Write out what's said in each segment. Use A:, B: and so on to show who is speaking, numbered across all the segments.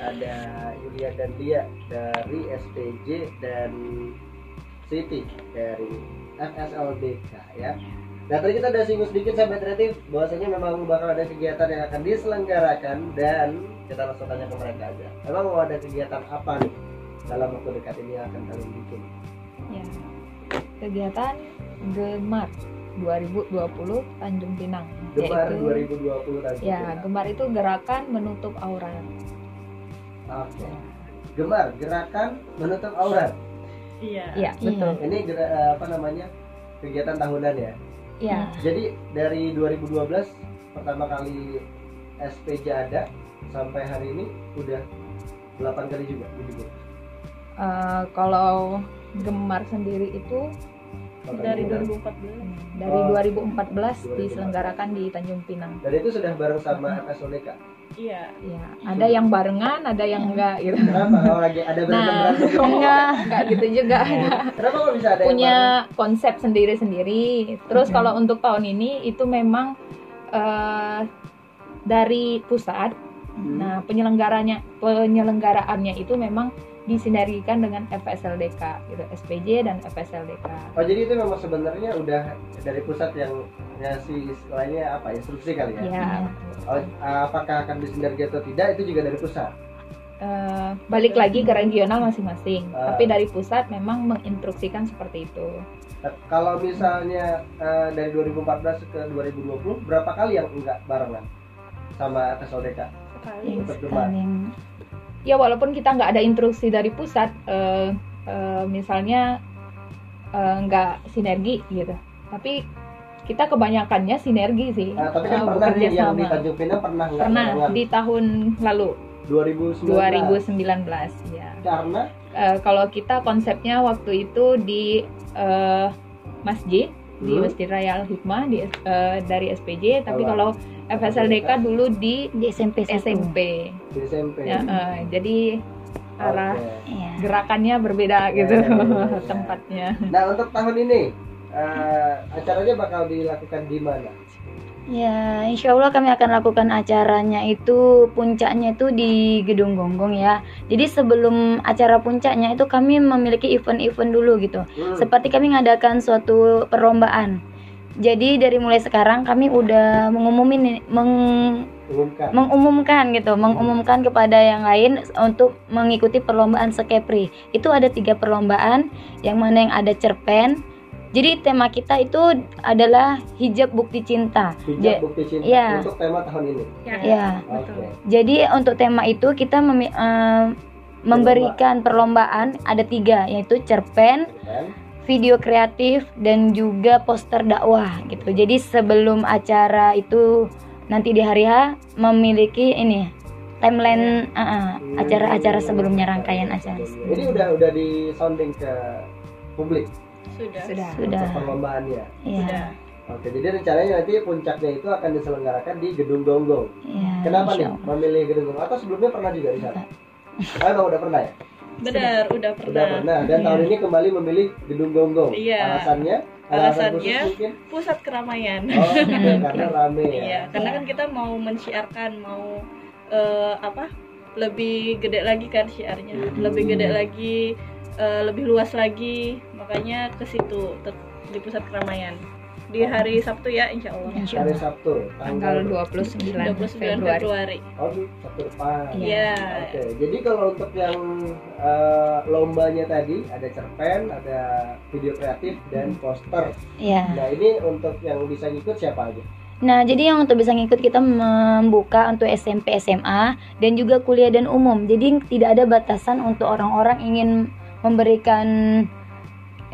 A: ada Yulia dan Lia dari SPJ dan City dari FSLDK ya. Nah tadi kita udah singgung sedikit sahabat kreatif bahwasanya memang bakal ada kegiatan yang akan diselenggarakan dan kita langsung tanya ke mereka aja. Emang mau ada kegiatan apa nih dalam waktu dekat ini yang akan kalian bikin?
B: Ya. Kegiatan Gemar 2020 Tanjung Pinang.
A: Gemar
B: yaitu
A: 2020 tadi.
B: ya Gemar itu gerakan menutup aura.
A: Oke. Gemar gerakan menutup aurat.
C: Iya.
B: Iya betul.
A: Ini gera- apa namanya kegiatan tahunan ya.
B: Iya
A: Jadi dari 2012 pertama kali SPJ ada sampai hari ini udah 8 kali juga dibikin.
B: eh, kalau Gemar sendiri itu
A: Total
C: Dari
A: dibikin.
C: 2014.
B: dari
A: Oh,
B: 2014 diselenggarakan di Tanjung Pinang.
A: Dan itu sudah bareng sama FSODK.
C: Iya.
B: Ya,
A: Hmm.
B: ada yang barengan, ada yang enggak gitu.
A: Kenapa kalau lagi ada berantem
B: Nah,
A: berantem?
B: enggak, enggak gitu juga.
A: Ya. Kenapa kok bisa ada
B: punya
A: yang
B: konsep sendiri-sendiri. Terus kalau untuk tahun ini itu memang eh, dari pusat.
A: bareng?
B: Nah, penyelenggaranya penyelenggaraannya itu memang disinergikan dengan FSLDK, gitu, SPJ dan FSLDK.
A: Oh jadi itu memang sebenarnya udah dari pusat yang ngasih istilahnya apa instruksi kali ya?
B: Ya,
A: Oh, apakah akan disinergi atau tidak itu juga dari pusat.
B: eh, balik lagi ke regional masing-masing.
A: Ah.
B: Tapi dari pusat memang menginstruksikan seperti itu.
A: Nah, Kalau misalnya eh, dari 2014 ke 2020 berapa kali yang enggak barengan sama FSODK?
C: Sekali.
A: Yang pertama.
B: Ya walaupun kita nggak ada instruksi dari pusat, eh, eh, misalnya eh, nggak sinergi gitu, tapi kita kebanyakannya sinergi sih.
A: Nah, tapi kan
B: eh,
A: pernah
B: bekerja
A: nih yang
B: sama.
A: di Tanjung Pinang pernah nggak
B: pernah
A: barengan?
B: di tahun lalu
A: 2019.
B: 2019 ya.
A: Karena
B: Eh, kalau kita konsepnya waktu itu di eh, masjid di
A: Hmm.
B: Masjid Raya Al Hikmah di, eh, dari SPJ, tapi
A: Oh.
B: kalau FSLDK dulu di
D: di SMP satu.
B: SMP.
A: di SMP.
B: Ya, eh,
A: Hmm.
B: jadi
A: Oke.
B: arah
D: Iya.
B: gerakannya berbeda
A: Ya,
B: gitu
A: ya, ya, ya.
B: tempatnya.
A: Nah untuk tahun ini eh, acaranya bakal dilakukan di mana?
D: Ya, insya Allah kami akan lakukan acaranya itu puncaknya itu di Gedung Gonggong ya. Jadi sebelum acara puncaknya itu kami memiliki event-event dulu gitu.
A: Hmm.
D: Seperti kami mengadakan suatu perlombaan. Jadi dari mulai sekarang kami udah mengumumin meng-
A: Umumkan.
D: mengumumkan gitu, mengumumkan kepada yang lain untuk mengikuti perlombaan sekepri. Itu ada tiga perlombaan, yang mana yang ada cerpen. Jadi tema kita itu adalah hijab bukti cinta.
A: Hijab
D: Ja-
A: bukti cinta
D: iya.
A: untuk tema tahun ini.
D: Ya.
C: Betul.
A: Oke.
D: Jadi untuk tema itu kita memi- eh, memberikan perlombaan ada tiga yaitu cerpen,
A: Kan?
D: video kreatif dan juga poster dakwah gitu. Jadi sebelum acara itu nanti di hari H memiliki ini timeline eh, eh,
A: Hmm.
D: acara-acara sebelumnya rangkaian acara.
A: Ini udah udah di sounding ke publik
C: Sudah.
B: Sudah.
A: untuk
D: Sudah.
A: perlombaannya.
D: Iya.
C: Sudah.
A: Oke, jadi rencananya nanti puncaknya itu akan diselenggarakan di Gedung Gonggong.
D: Iya.
A: Kenapa
D: insya
A: nih
D: Allah.
A: memilih Gedung Gonggong? Atau sebelumnya pernah juga di sana? Oh, emang udah pernah ya?
C: Benar, udah pernah.
A: Udah pernah. Dan tahun ini kembali memilih Gedung Gonggong.
C: Iya.
A: Alasannya? Alasan
C: Alasannya-
A: khusus mungkin?
C: Pusat keramaian.
A: Oh, oke, karena rame ya.
C: Iya, karena kan kita mau mensyiarkan, mau eh, apa? Lebih gede lagi kan syiarnya,
A: Hmm.
C: lebih gede lagi, eh, lebih luas lagi, makanya ke situ tet- di pusat keramaian di hari Sabtu ya, Insya Allah.
D: Insya
A: Hari
D: Allah.
A: Sabtu,
B: Tanggal
A: tanggal
B: 29,
C: 29
B: Februari.
C: Februari.
A: Oh, di Sabtu depan.
C: Iya.
A: Oke, jadi kalau untuk yang eh, lombanya tadi ada cerpen, ada video kreatif dan poster.
D: Iya.
A: Nah, ini untuk yang bisa ngikut siapa aja?
D: Nah, jadi yang untuk bisa ngikut kita membuka untuk SMP, SMA dan juga kuliah dan umum. Jadi tidak ada batasan untuk orang-orang ingin memberikan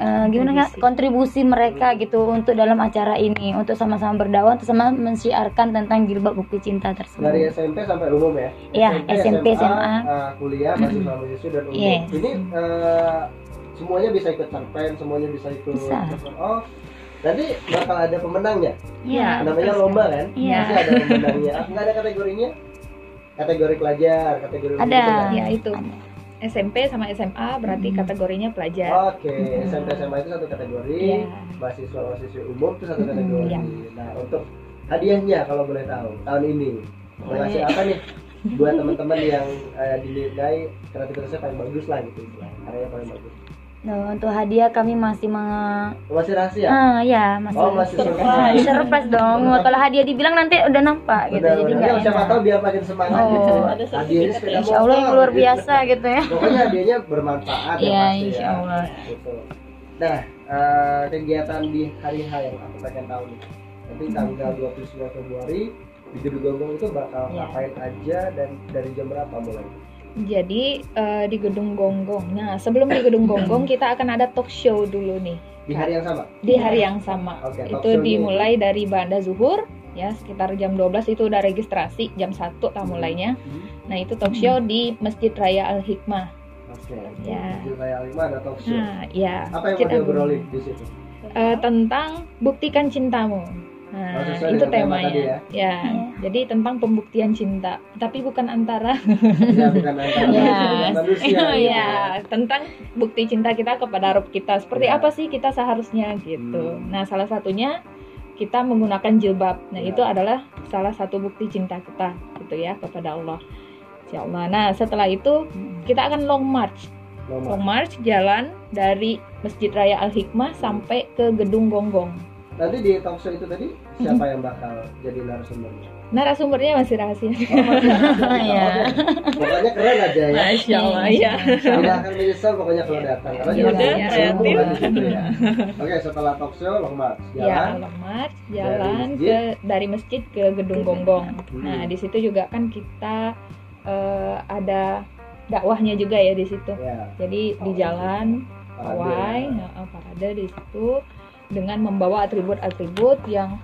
D: eh, gimana Kak? kontribusi mereka gitu untuk dalam acara ini untuk sama-sama berdakwah, untuk sama mensiarkan tentang jilbab bukti cinta
A: Dari
D: tersebut.
A: SMP sampai umum ya?
D: Iya, SMP, SMA.
A: eh, kuliah, mahasiswa mahasiswi dan umum.
D: Yes.
A: Ini eh, semuanya bisa ikut cerpen, semuanya bisa ikut.
D: Bisa.
A: Oh, nanti bakal ada pemenangnya.
B: Ya.
D: Iya.
A: Namanya lomba kan?
D: Iya.
A: Pasti ada pemenangnya. Ah, Nggak ada kategorinya? Kategori pelajar, kategori
D: Ada.
A: pendidikan.
B: Ya itu. SMP sama SMA berarti
D: Hmm.
B: kategorinya pelajar.
A: Oke, SMP SMA itu satu kategori,
B: Iya.
A: mahasiswa mahasiswi umum itu satu
D: Mm,
A: kategori.
D: iya.
A: Nah, untuk hadiahnya kalau boleh tahu tahun ini mau ngasih apa nih? buat teman-teman yang eh, dinilai kreativitasnya paling bagus lah gitu istilahnya karyanya paling bagus
D: Nah, untuk hadiah kami masih meng
A: masih rahasia
D: Ah, ya, masih.
A: oh masih surprise
D: Surprise dong. Wah, Kalau hadiah dibilang nanti udah nampak gitu.
A: Udah,
D: jadi
A: udah.
D: nggak
A: Ya, siapa
D: enak.
A: tahu biar makin semangat
D: Oh.
A: gitu
C: Ada sertifikat
A: hadiahnya sepeda
D: Insya Allah yang
A: motor,
D: luar
A: gitu.
D: biasa gitu ya.
A: pokoknya hadiahnya bermanfaat ya,
D: Iya,
A: pasti
D: insya
A: ya.
D: Allah.
A: Gitu. nah eh, kegiatan di hari H yang aku pengen tahu nih nanti tanggal 29 Februari di Gedung Gonggong itu bakal
D: Iya.
A: ngapain aja dan dari jam berapa mulai?
B: Jadi eh, di Gedung Gonggong. Nah, sebelum di Gedung Gonggong kita akan ada talk show dulu nih
A: Di hari yang sama?
B: di hari yang sama.
A: Iya. Oke, talk
B: itu
A: show di-
B: dimulai dari Banda Zuhur ya sekitar jam 12 itu udah registrasi jam 1 tak mulainya.
A: Hmm,
B: Nah, itu talk show di Masjid Raya Al Hikmah.
A: Oke.
B: Ya.
A: Di Raya Lima ada talk show.
B: Nah, ya.
A: Apa yang mau
B: kita-
A: diobrolin di situ?
B: eh, tentang buktikan cintamu.
A: Oh,
B: Nah,
A: sesuai
B: itu
A: dengan tema
B: temanya.
A: tadi ya.
B: Ya, jadi tentang pembuktian cinta, tapi bukan antara
A: Ya, bukan antara
D: Iya.
A: manusia.
B: ya,
A: gitu
B: tentang bukti cinta kita kepada Rob kita. Seperti
A: Ya.
B: apa sih kita seharusnya gitu.
A: Hmm.
B: Nah, salah satunya kita menggunakan jilbab. Nah,
A: Ya.
B: itu adalah salah satu bukti cinta kita gitu ya kepada Allah. Insya Allah. Nah, setelah itu
A: Hmm.
B: kita akan long march.
A: Nomor.
B: Long march jalan dari Masjid Raya Al Hikmah sampai ke Gedung Gonggong.
A: Nanti di talk show itu tadi siapa yang bakal jadi narasumbernya?
B: Narasumbernya masih rahasia.
A: Oh, masih ada.
D: Iya.
A: Pokoknya keren aja ya.
B: Masya
D: Allah,
B: ya.
A: Tidak akan menyesal pokoknya kalau datang. Karena
B: Iya,
A: juga
B: iya.
A: semua
C: kreatif.
A: di situ ya. Oke, setelah talk show long march
C: Iya.
B: Ya,
A: jalan.
B: Long March, jalan
A: masjid.
B: ke dari masjid ke Gedung Gonggong.
A: Hmm.
B: Nah, di situ juga kan kita eh, ada dakwahnya juga ya di situ.
A: Ya,
B: Jadi di jalan
A: parade.
B: pawai, heeh, parade di situ dengan membawa atribut-atribut yang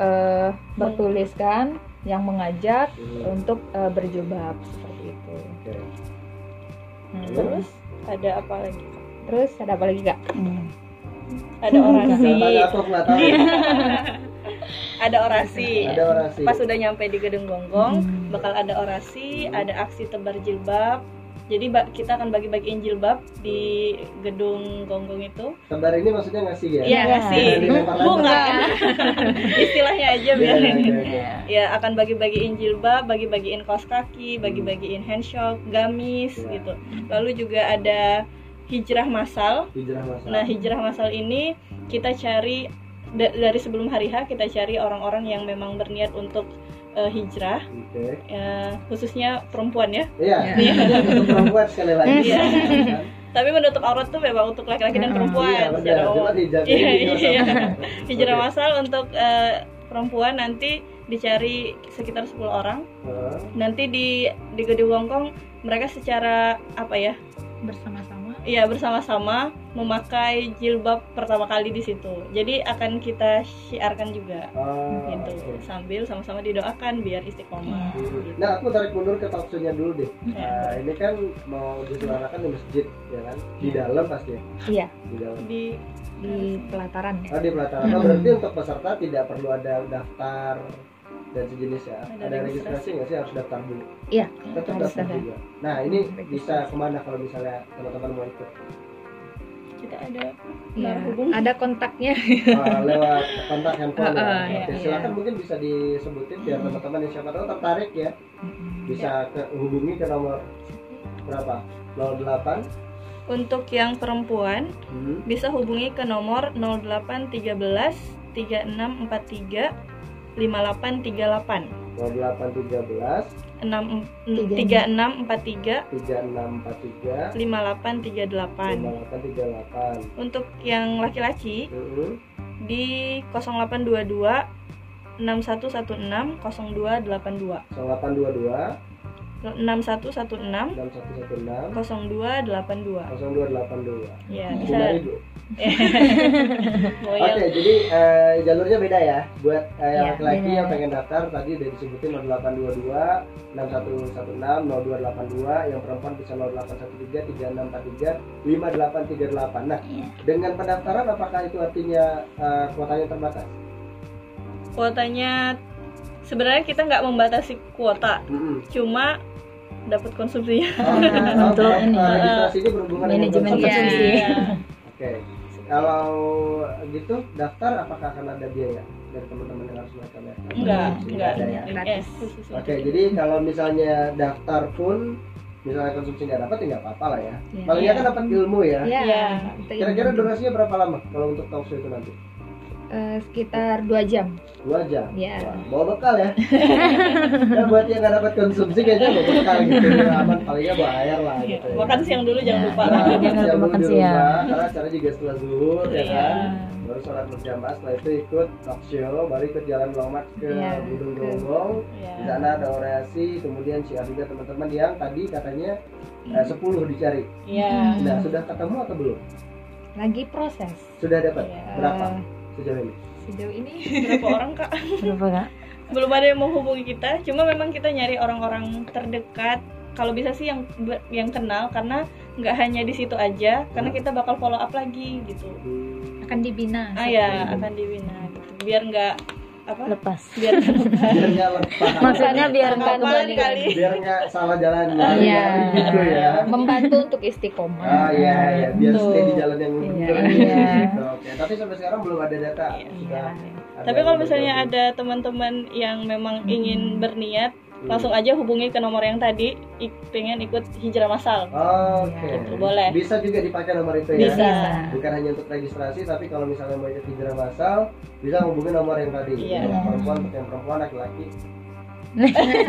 B: eh, bertuliskan yang mengajak
A: Hmm,
B: untuk eh, berjilbab seperti itu.
A: Oke.
B: Nah,
A: Terus?
B: terus
C: ada apa lagi
B: terus ada apa lagi kak?
C: ada orasi
A: Siapa jatuh nggak tahu.
C: Iya. ada orasi
A: Ada orasi.
C: pas udah nyampe di gedung gonggong bakal ada orasi ada aksi tebar jilbab jadi ba- kita akan bagi-bagiin jilbab di gedung gonggong itu
A: Tebar ini maksudnya ngasih ya?
C: Iya
D: Ya.
C: ngasih
A: Dilempar-lempar.
C: bunga istilahnya aja
A: Iya,
C: biar
A: iya, iya, iya.
C: ya akan bagi-bagiin jilbab, bagi-bagiin kaos kaki, bagi-bagiin handshop, gamis
A: Ya.
C: gitu. Lalu juga ada hijrah masal.
A: Hijrah masal.
C: Nah, hijrah masal ini kita cari da- dari sebelum hari H kita cari orang-orang yang memang berniat untuk eh, hijrah,
A: Oke.
C: eh, khususnya perempuan ya.
A: Iya.
B: Iya.
A: Untuk perempuan sekali lagi.
C: Iya.
A: Kan?
C: Tapi menutup aurat tuh memang untuk laki-laki dan
D: Mm-mm.
A: Iya,
C: perempuan secara
A: benar.
C: umum.
A: Cuma dijaga
C: Iya,
A: ini
C: iya.
A: sama-sama.
C: Hijrah
A: Oke.
C: masal untuk eh, perempuan nanti dicari sekitar 10 orang.
A: Heeh.
C: nanti di di Gedung Wongkong mereka secara apa ya?
B: bersama-sama.
C: Iya bersama-sama memakai jilbab pertama kali di situ. Jadi akan kita syiarkan juga
A: Oh,
C: gitu
A: oke.
C: sambil sama-sama didoakan biar istiqomah. gitu.
A: Hmm. Nah, aku tarik mundur ke talkshow-nya dulu deh.
B: Iya.
A: Nah, ini kan mau diselenggarakan di masjid, ya kan? Di dalam pasti. ya?
B: Iya.
A: Di dalam.
C: Di
B: di pelataran ya.
A: Oh, di pelataran. Oh,
D: Hmm.
A: berarti untuk peserta tidak perlu ada daftar dan sejenis ya.
C: Ada
A: Ada, registrasi
C: registrasi.
A: nggak sih harus daftar dulu?
B: Iya,
A: Tetap
B: harus
A: daftar
B: ada.
A: juga. Nah, ini
B: Registrasi.
A: bisa kemana kalau misalnya teman-teman mau ikut?
C: kita ada
B: Iya,
C: Berhubung.
B: Ada kontaknya.
A: Eh, lewat kontak handphone.
B: Ah,
A: ya.
B: ah,
A: Oke,
B: iya, Hmm.
A: silakan mungkin bisa disebutin biar teman-teman yang siapa tahu tertarik ya
B: Iya.
A: bisa ke, hubungi ke nomor berapa? 08
C: untuk yang perempuan
A: hmm.
C: bisa hubungi ke nomor 0813
A: 0813
C: 3643 5838 6
D: Tiga
C: 3643
A: 3643
C: 5838
A: 5838
C: Untuk yang laki-laki
A: Mhm.
C: di 0822 6116 0282
A: 0822
C: 6116
A: 6116
C: 0282
A: 0282
C: ya
A: Bu
C: bisa
A: Mari dulu.
C: mau
D: Oh,
A: Oke,
D: iya.
C: yang
A: jadi eh, jalurnya beda ya. Buat eh, yang
B: Iya,
A: laki-laki
D: beda.
A: yang pengen daftar tadi udah disebutin 0822 6116 0282, yang perempuan bisa 0813 3643 5838. Nah,
D: Iya.
A: dengan pendaftaran apakah itu artinya eh, kuotanya terbatas?
C: kuotanya sebenarnya kita nggak membatasi kuota
A: Mhm.
C: cuma dapat konsumsinya
A: Oh,
D: Untuk
A: oh,
D: ini.
A: eh, registrasi ini berhubungan dengan
D: Manajemen
A: konsumsi.
D: konsumsi.
A: Oke. Kalau gitu daftar apakah akan ada biaya dari teman-teman yang harus mereka bayar?
C: Enggak,
A: Tidak
C: enggak.
A: ada ya?
B: Gratis.
C: Yes, khusus
A: Oke,
C: untuk-
A: jadi kalau misalnya daftar pun misalnya konsumsi nggak dapat, ya nggak apa-apa lah ya.
B: Iya.
A: Palingnya kan dapat ilmu ya.
B: Ya,
C: Iya.
B: itu ini.
A: Kira-kira durasinya berapa lama kalau untuk talkshow itu nanti?
B: Eh, sekitar dua jam.
A: Dua jam.
B: Iya.
A: Wah, bawa bekal ya. ya buat yang nggak dapat konsumsi kayaknya bawa bekal gitu. Ya, aman palingnya bawa air lah
C: Iya,
A: gitu. ya.
C: Makan siang dulu jangan
D: Ya.
C: lupa.
A: Nah,
D: Iya. Jangan
A: siang
D: lupa
A: dulu
D: makan
A: di
D: siang.
A: rumah, Karena acara juga setelah zuhur ya
C: Iya.
A: kan. Baru sholat berjamaah setelah itu ikut talkshow, baru ikut jalan lomat ke
B: Iya,
A: Gunung
B: ke-
A: Gonggong.
C: Iya.
A: Di sana ada orasi, kemudian si juga teman-teman yang tadi katanya eh, 10 dicari.
C: Iya.
B: Hmm.
A: Nah, sudah ketemu atau belum?
B: Lagi proses.
A: Sudah dapat
C: Iya.
A: berapa
B: Eh,
A: sejauh ini?
B: sejauh ini
C: Berapa orang kak?
D: Berapa kak?
C: Belum ada yang menghubungi kita. Cuma memang kita nyari orang-orang terdekat. Kalau bisa sih yang ber- yang kenal karena nggak hanya di situ aja. Karena kita bakal follow up lagi gitu.
A: Hmm,
B: akan dibina.
C: Ah ya akan dibina gitu. Biar nggak apa?
D: Lepas.
C: Biar nggak lepas.
A: Biar nggak lepas.
D: Maksudnya biar nggak
C: Kapan
D: kembali.
C: kali?
A: biar nggak salah jalan ya.
B: Iya.
A: gitu ya.
B: Membantu untuk istiqomah.
A: Ah iya, iya. biar
C: Betul.
A: stay di jalan yang benar.
D: Iya.
A: Gitu, Oke, tapi sampai sekarang belum ada data.
C: Iya.
A: Sudah ada
C: Tapi kalau
A: yang
C: misalnya
A: bergabung.
C: ada teman-teman yang memang ingin berniat,
A: Hmm.
C: langsung aja hubungi ke nomor yang tadi. i- Pengen ikut hijrah masal.
A: Oke.
C: Gitu, boleh.
A: Bisa juga dipakai nomor itu ya.
C: Bisa.
B: Iya.
A: Bukan hanya untuk registrasi, tapi kalau misalnya mau ikut hijrah masal, bisa hubungi nomor yang tadi.
C: Iya.
A: Untuk Perempuan untuk yang perempuan, laki-laki.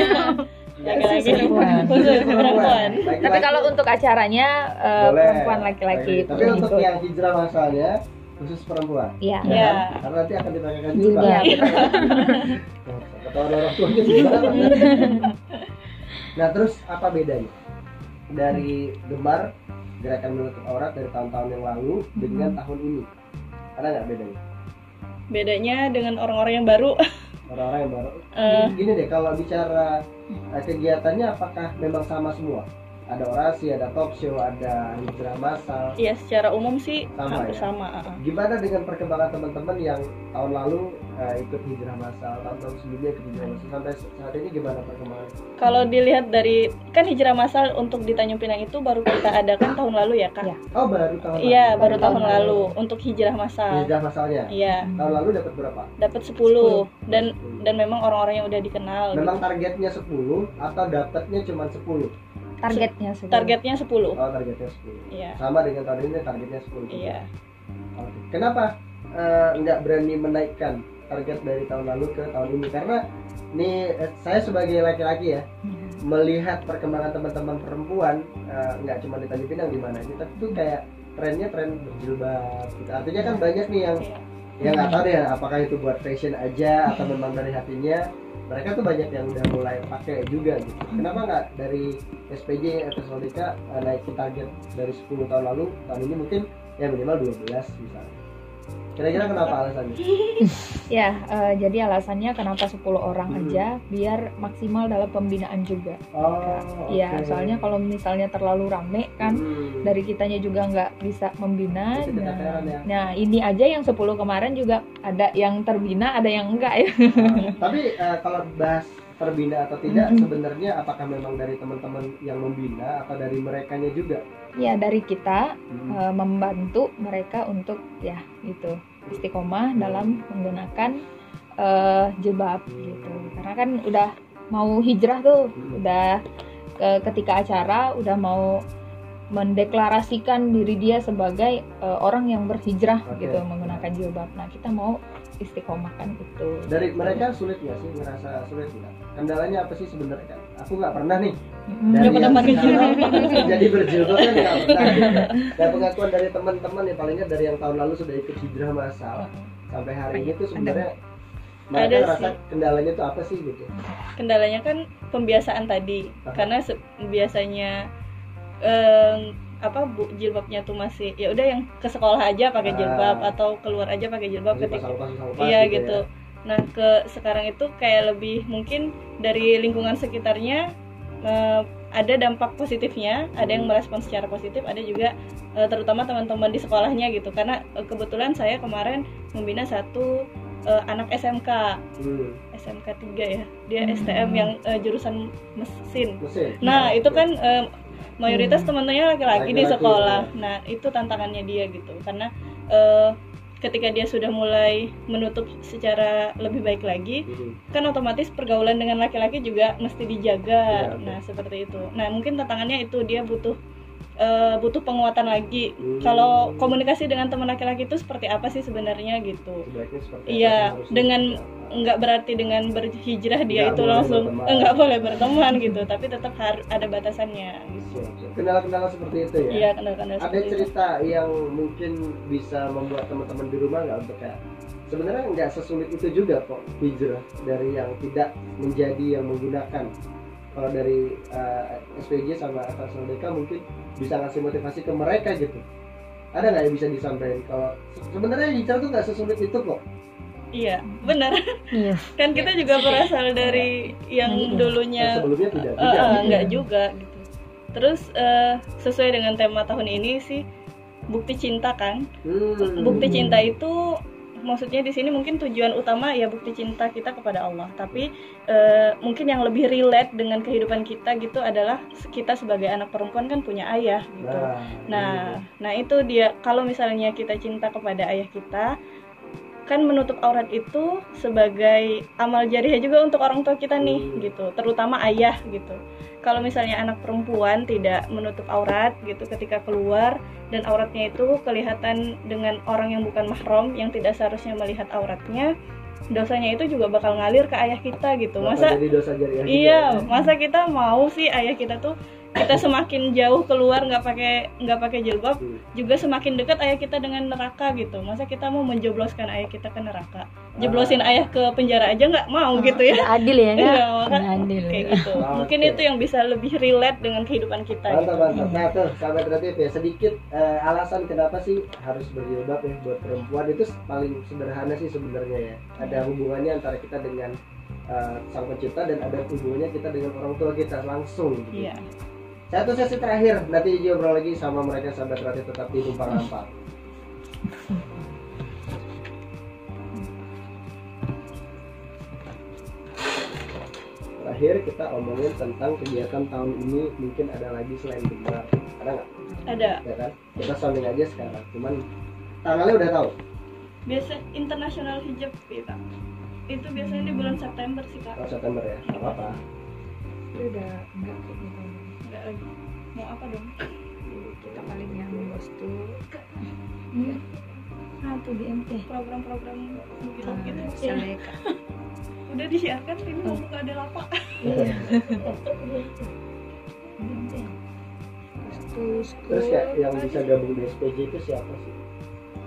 C: Laki-laki
D: Perempuan.
C: khusus gitu. perempuan.
A: Laki-laki.
B: Tapi kalau untuk acaranya eh,
A: Boleh.
B: perempuan laki-laki itu
A: Tapi untuk
B: ikut.
A: yang hijrah masalnya khusus perempuan.
B: Iya.
A: ya
C: Iya.
A: kan? Karena nanti akan ditanyakan juga.
D: Juga.
A: Ketahuan orang tuanya gimana? nah terus apa bedanya dari gemar gerakan menutup aurat dari tahun-tahun yang lalu dengan tahun ini? Ada nggak bedanya?
C: Bedanya dengan orang-orang yang baru.
A: Orang-orang yang baru.
C: eh,
A: Gini deh kalau bicara eh, kegiatannya apakah memang sama semua? Ada orasi, ada talk show, ada hijrah masal.
C: ya secara umum sih
A: Sama ya?
C: hampir sama. ah, ah.
A: Gimana dengan perkembangan teman-teman yang tahun lalu eh, ikut hijrah masal, tahun-tahun sebelumnya ikut hijrah masal sampai saat ini gimana perkembangan?
C: Kalau dilihat dari kan hijrah masal untuk di Tanjung Pinang itu baru kita adakan tahun lalu ya kak.
B: Iya.
A: Oh baru tahun lalu.
C: Iya baru tahun
A: Tahun
C: lalu untuk hijrah masal.
A: Hijrah masalnya.
C: Iya
A: Tahun lalu dapat berapa?
C: dapat 10 dan dan memang orang-orang yang udah dikenal. gitu.
A: Memang targetnya 10 atau dapatnya cuma 10? Oh,
B: targetnya sebelum.
C: Targetnya 10
A: targetnya 10.
C: Iya
A: Sama dengan tahun ini targetnya 10. juga.
C: iya.
A: Oke. Kenapa eh, nggak berani menaikkan target dari tahun lalu ke tahun ini? Karena nih eh, saya sebagai laki-laki ya
B: Iya.
A: melihat perkembangan teman-teman perempuan eh, nggak cuma di Tanjung Pinang di mana aja, tapi tuh kayak trennya tren berjilbab. Gitu. Artinya kan banyak nih yang ya
C: Iya.
A: nggak tahu deh apakah itu buat fashion aja atau memang dari hatinya mereka tuh banyak yang udah mulai pakai juga gitu kenapa nggak dari SPJ atau Solika eh, naikin target dari 10 tahun lalu tahun ini mungkin ya minimal 12 misalnya kira-kira kenapa alasannya
B: Ya, eh, jadi alasannya kenapa 10 orang
A: Hmm.
B: aja biar maksimal dalam pembinaan juga.
A: oh
B: Iya, soalnya kalau misalnya terlalu rame kan
A: Hmm.
B: dari kitanya juga nggak bisa membina.
A: Bisa
B: Nah,
A: keteteran ya.
B: nah, ini aja yang 10 kemarin juga ada yang terbina, ada yang enggak ya.
C: Nah,
A: tapi eh, kalau bahas terbina atau tidak
C: Mm-hmm.
B: Mhm.
A: sebenarnya apakah memang dari teman-teman yang membina atau dari merekanya juga
B: Ya, dari kita
A: Hmm.
C: Mm-hmm.
B: eh, membantu mereka untuk ya gitu istiqomah dalam menggunakan eh, jilbab gitu karena kan udah mau hijrah tuh
A: Hmm.
B: udah ke- ketika acara udah mau mendeklarasikan diri dia sebagai eh, orang yang berhijrah
A: Oke.
B: gitu menggunakan jilbab nah kita mau istiqomah kan itu
A: dari mereka sulit nggak sih ngerasa sulit nggak kendalanya apa sih sebenarnya kan aku nggak pernah nih
B: Mm.
A: dari
C: Nggak pernah
A: yang
C: pakai
A: sekarang jadi berjilbab kan nggak pernah gitu. nah pengakuan dari teman-teman ya palingnya dari yang tahun lalu sudah ikut hijrah masal sampai hari ini tuh sebenarnya mereka
C: Ada
A: ngerasa kendalanya tuh apa sih gitu
C: kendalanya kan pembiasaan tadi
A: Aha.
C: karena se- biasanya em, apa bu jilbabnya tuh masih ya udah yang ke sekolah aja pakai jilbab
A: Ah.
C: atau keluar aja pakai jilbab
A: Jadi
C: ketika
A: pasang-pasang
C: iya gitu nah ke sekarang itu kayak lebih mungkin dari lingkungan sekitarnya em, ada dampak positifnya ada yang merespon secara positif ada juga eh, terutama teman-teman di sekolahnya gitu karena eh, kebetulan saya kemarin membina satu eh, anak SMK
A: Hmm,
C: SMK 3 ya. Dia
B: Hmm.
C: STM yang eh, jurusan mesin.
A: mesin. Gitu.
C: Nah, itu kan eh, mayoritas
B: Hmm.
C: temannya laki-laki di
A: Iya. Laki-laki, iya.
C: sekolah. Nah, itu tantangannya dia gitu. Karena eh, ketika dia sudah mulai menutup secara lebih baik lagi
A: Mhm.
C: kan otomatis pergaulan dengan laki-laki juga mesti
A: Iya,
C: dijaga.
A: betul.
C: Nah, seperti itu. Nah, mungkin tantangannya itu dia butuh eh, butuh penguatan lagi.
A: Hmm.
C: Kalau komunikasi dengan teman laki-laki itu seperti apa sih sebenarnya gitu.
A: Sebaiknya seperti apa
C: Iya,
A: sih harusnya?
C: dengan- Enggak berarti dengan berhijrah dia
A: Nggak
C: itu
A: boleh
C: langsung
A: berteman.
C: eh, nggak boleh berteman gitu, tapi tetap har- ada batasannya gitu.
A: Siap, siap. kendala-kendala seperti itu ya
C: Iya, kendala-kendala
A: ada
C: seperti itu.
A: cerita yang mungkin bisa membuat teman-teman di rumah nggak untuk kayak sebenarnya nggak sesulit itu juga kok hijrah dari yang tidak menjadi yang menggunakan kalau dari eh, SPJ sama FSLDK mungkin bisa ngasih motivasi ke mereka gitu ada nggak yang bisa disampaikan kalau se- sebenarnya hijrah tuh nggak sesulit itu kok
C: Iya, benar.
D: Iya.
C: Kan kita juga berasal dari yang
D: Iya.
A: yang
C: dulunya
A: sebelumnya tidak
C: Eh,
A: juga
C: eh, enggak juga gitu. Terus eh, sesuai dengan tema tahun ini sih bukti cinta kan.
A: Hmm.
C: Bukti cinta itu maksudnya di sini mungkin tujuan utama ya bukti cinta kita kepada Allah. Tapi eh, mungkin yang lebih relate dengan kehidupan kita gitu adalah kita sebagai anak perempuan kan punya ayah gitu.
A: nah,
C: Nah, nah itu dia kalau misalnya kita cinta kepada ayah kita kan menutup aurat itu sebagai amal jariah juga untuk orang tua kita nih
A: Hmm.
C: gitu, terutama ayah gitu. Kalau misalnya anak perempuan tidak menutup aurat gitu ketika keluar dan auratnya itu kelihatan dengan orang yang bukan mahram yang tidak seharusnya melihat auratnya, dosanya itu juga bakal ngalir ke ayah kita gitu.
A: bakal
C: Masa
A: jadi dosa jariah juga.
C: Iya, masa kita mau sih ayah kita tuh kita semakin jauh keluar nggak pakai nggak pakai jilbab
A: Hmm.
C: juga semakin dekat ayah kita dengan neraka gitu. Masa kita mau menjebloskan ayah kita ke neraka? Jeblosin ayah ke penjara aja nggak mau gitu ya?
D: Nggak adil ya kan?
C: Iya, maka
D: Nggak adil.
C: kayak gitu.
A: Oke.
C: Mungkin itu yang bisa lebih relate dengan kehidupan kita
A: Mantap,
C: gitu.
A: mantap. Nah, tuh, sahabat kreatif ya, sedikit eh, alasan kenapa sih harus berjilbab ya buat perempuan itu paling sederhana sih sebenarnya ya. Ada hubungannya antara kita dengan eh, sang pencipta dan ada hubungannya kita dengan orang tua kita langsung. gitu.
C: Iya.
A: Satu sesi terakhir, nanti diobrol lagi sama mereka sahabat kreatif tetap di tumpang rampang. Terakhir kita omongin tentang kegiatan tahun ini mungkin ada lagi selain gemar, ada nggak?
C: Ada
A: ya kan? Kita sounding aja sekarang. Cuman tanggalnya udah tahu.
C: biasa internasional hijab kita. Itu biasanya di bulan September sih kak.
A: Kalau September ya, nggak apa-apa.
B: udah enggak kayak gitu.
C: Nggak lagi. Mau apa dong?
B: Kita paling yang bostu. Nah, tuh BMT.
C: Program-program gitu
B: Nah,
C: gitu.
D: Iya,
B: Seleka.
C: Udah disiarkan ini mau buka ada lapak.
B: Iya. BMT. Bostu, school,
A: Terus kayak yang
B: apa
A: bisa
B: gitu.
A: gabung di SPJ itu siapa sih?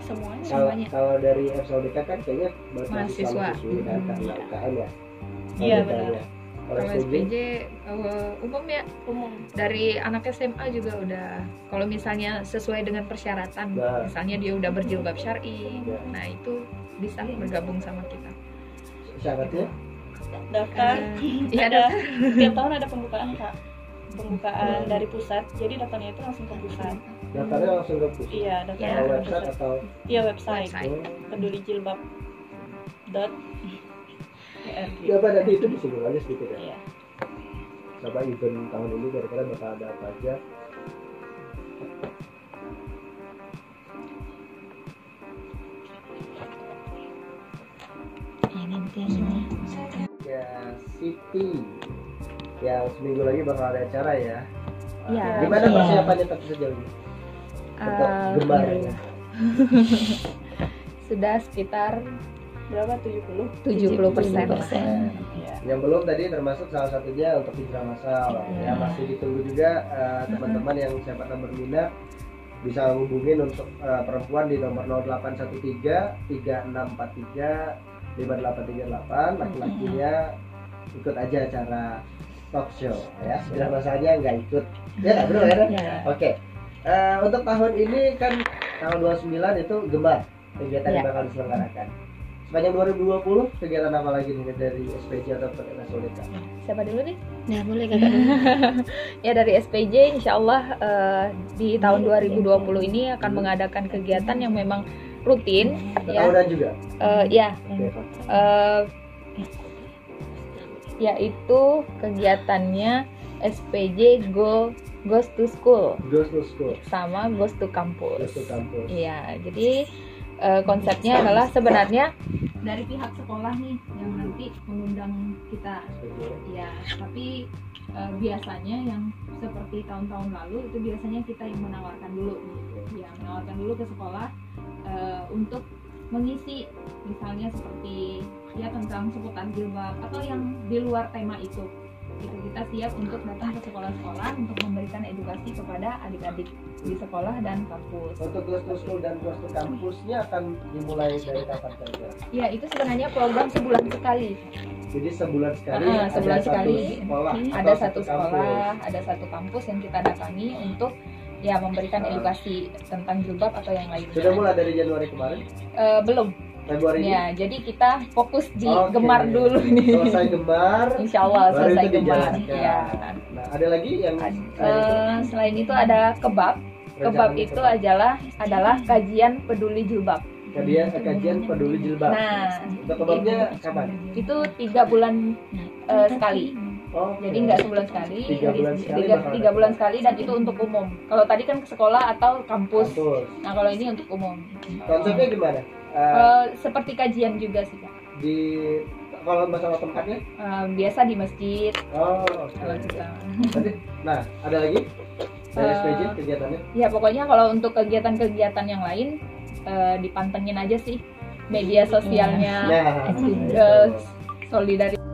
C: semuanya
A: Kalau
B: Semuanya.
A: kalau dari FSLDK kan kayaknya buat
B: Mahasiswa.
A: mahasiswi kan
B: Hmm.
A: karena UKM ya.
C: Iya,
A: Bedanya.
C: benar.
A: Kalau
B: Kalau
A: SPJ
B: SPJ eh, umum ya
C: umum
B: dari anak SMA juga udah kalau misalnya sesuai dengan persyaratan
A: Nah.
B: misalnya dia udah berjilbab syari
A: Ya.
B: nah itu bisa bergabung sama kita
A: syaratnya
C: daftar Iya.
B: Iya
C: ada
B: ada
C: tiap tahun ada pembukaan kak pembukaan dari pusat jadi daftarnya itu langsung ke pusat
A: daftarnya langsung ke pusat.
C: iya
A: Kalau
C: daftarnya ke
A: website
C: pusat
A: atau Hmm.
C: iya website
B: website
C: peduli jilbab dot
A: ya apa nanti itu disinggung aja sedikit ya.
C: Iya.
A: Coba event tahun ini kira-kira bakal ada apa aja?
D: Ya, nanti aja.
A: Ya City yang seminggu lagi bakal ada acara ya.
D: Iya.
A: Gimana
D: Iya.
A: persiapannya tapi sejauh ini? Untuk
D: Eh,
A: gemar ya.
B: iya. sudah sekitar
C: berapa 70
B: 70 persen
A: Nah.
D: 70%.
C: iya
A: Yang belum tadi termasuk salah satunya untuk hijrah masal. Ya
D: Iya.
A: masih ditunggu juga eh, teman-teman yang siapa tahu berminat bisa hubungin untuk eh, perempuan di nomor 0813 3643 5838 laki-lakinya ikut aja acara talk show ya hijrah masalnya nggak ikut ya nggak bro ya Ren?
C: Iya.
D: Ya.
A: oke Eh, untuk tahun ini kan tanggal 29 itu gemar kegiatan yang
D: Iya.
A: bakal diselenggarakan sepanjang 2020 kegiatan apa lagi nih dari SPJ atau Solid
B: siapa dulu nih
D: Nah, boleh kakak dulu.
B: ya dari SPJ insyaallah eh, di tahun 2020 ini akan mengadakan kegiatan yang memang rutin ya
A: tahunan juga
B: Eh, ya
A: Oke.
B: eh yaitu kegiatannya SPJ Go Goes to School
A: Goes to School
B: sama Goes to
A: Goes
B: Campus.
A: to Campus
B: Iya, jadi eh, konsepnya adalah sebenarnya dari pihak sekolah nih yang nanti mengundang kita
A: Iya.
B: ya tapi eh, biasanya yang seperti tahun-tahun lalu itu biasanya kita yang menawarkan dulu ya menawarkan dulu ke sekolah eh, untuk mengisi misalnya seperti ya tentang seputar jilbab atau yang di luar tema itu itu kita siap untuk datang ke sekolah-sekolah untuk memberikan edukasi kepada adik-adik di sekolah dan kampus
A: Untuk kelas to school dan kelas to kampusnya akan dimulai dari kapan saja?
B: Ya itu sebenarnya program sebulan sekali.
A: Jadi sebulan sekali
B: Ah,
A: ada
B: sebulan
A: satu
B: sekali. Hmm,
A: sekolah
B: Ada
A: atau
B: satu
A: kampus.
B: sekolah, ada satu kampus yang kita datangi untuk ya memberikan
A: Ah.
B: edukasi tentang jilbab atau yang lain.
A: Sudah mulai dari Januari kemarin,
B: Eh, belum.
A: Februari ini.
B: Ya jadi kita fokus di
A: Oke.
B: gemar dulu nih. Iya.
A: Selesai gemar,
B: Insya Allah
A: baru
B: Oh, selesai
A: itu
B: gemar.
A: dijalankan.
B: Ya.
A: Nah, ada lagi yang
B: Eh, selain itu ada kebab. Kebab itu adalah adalah kajian peduli jilbab.
A: kajian kajian peduli jilbab.
B: Nah
A: Untuk kebabnya kapan?
B: itu tiga bulan eh, sekali.
A: Oh,
B: Jadi nggak sebulan sekali,
A: Tiga bulan sekali
B: tiga,
A: bakal
B: tiga
A: ada.
B: bulan sekali dan itu untuk umum. Kalau tadi kan ke sekolah atau kampus,
A: kampus.
B: nah kalau ini untuk umum.
A: Konsepnya gimana? Eh,
B: Eh, seperti kajian juga sih Kak.
A: di kalau masalah tempatnya?
B: Eh, biasa di masjid
A: Oh, oke.
B: kalau kita.
A: Nanti- Nah, ada lagi dari
B: Eh,
A: SPJ kegiatannya.
B: Ya pokoknya kalau untuk kegiatan-kegiatan yang lain eh, dipantengin aja sih media sosialnya
A: Nah,
B: eh, solidaritas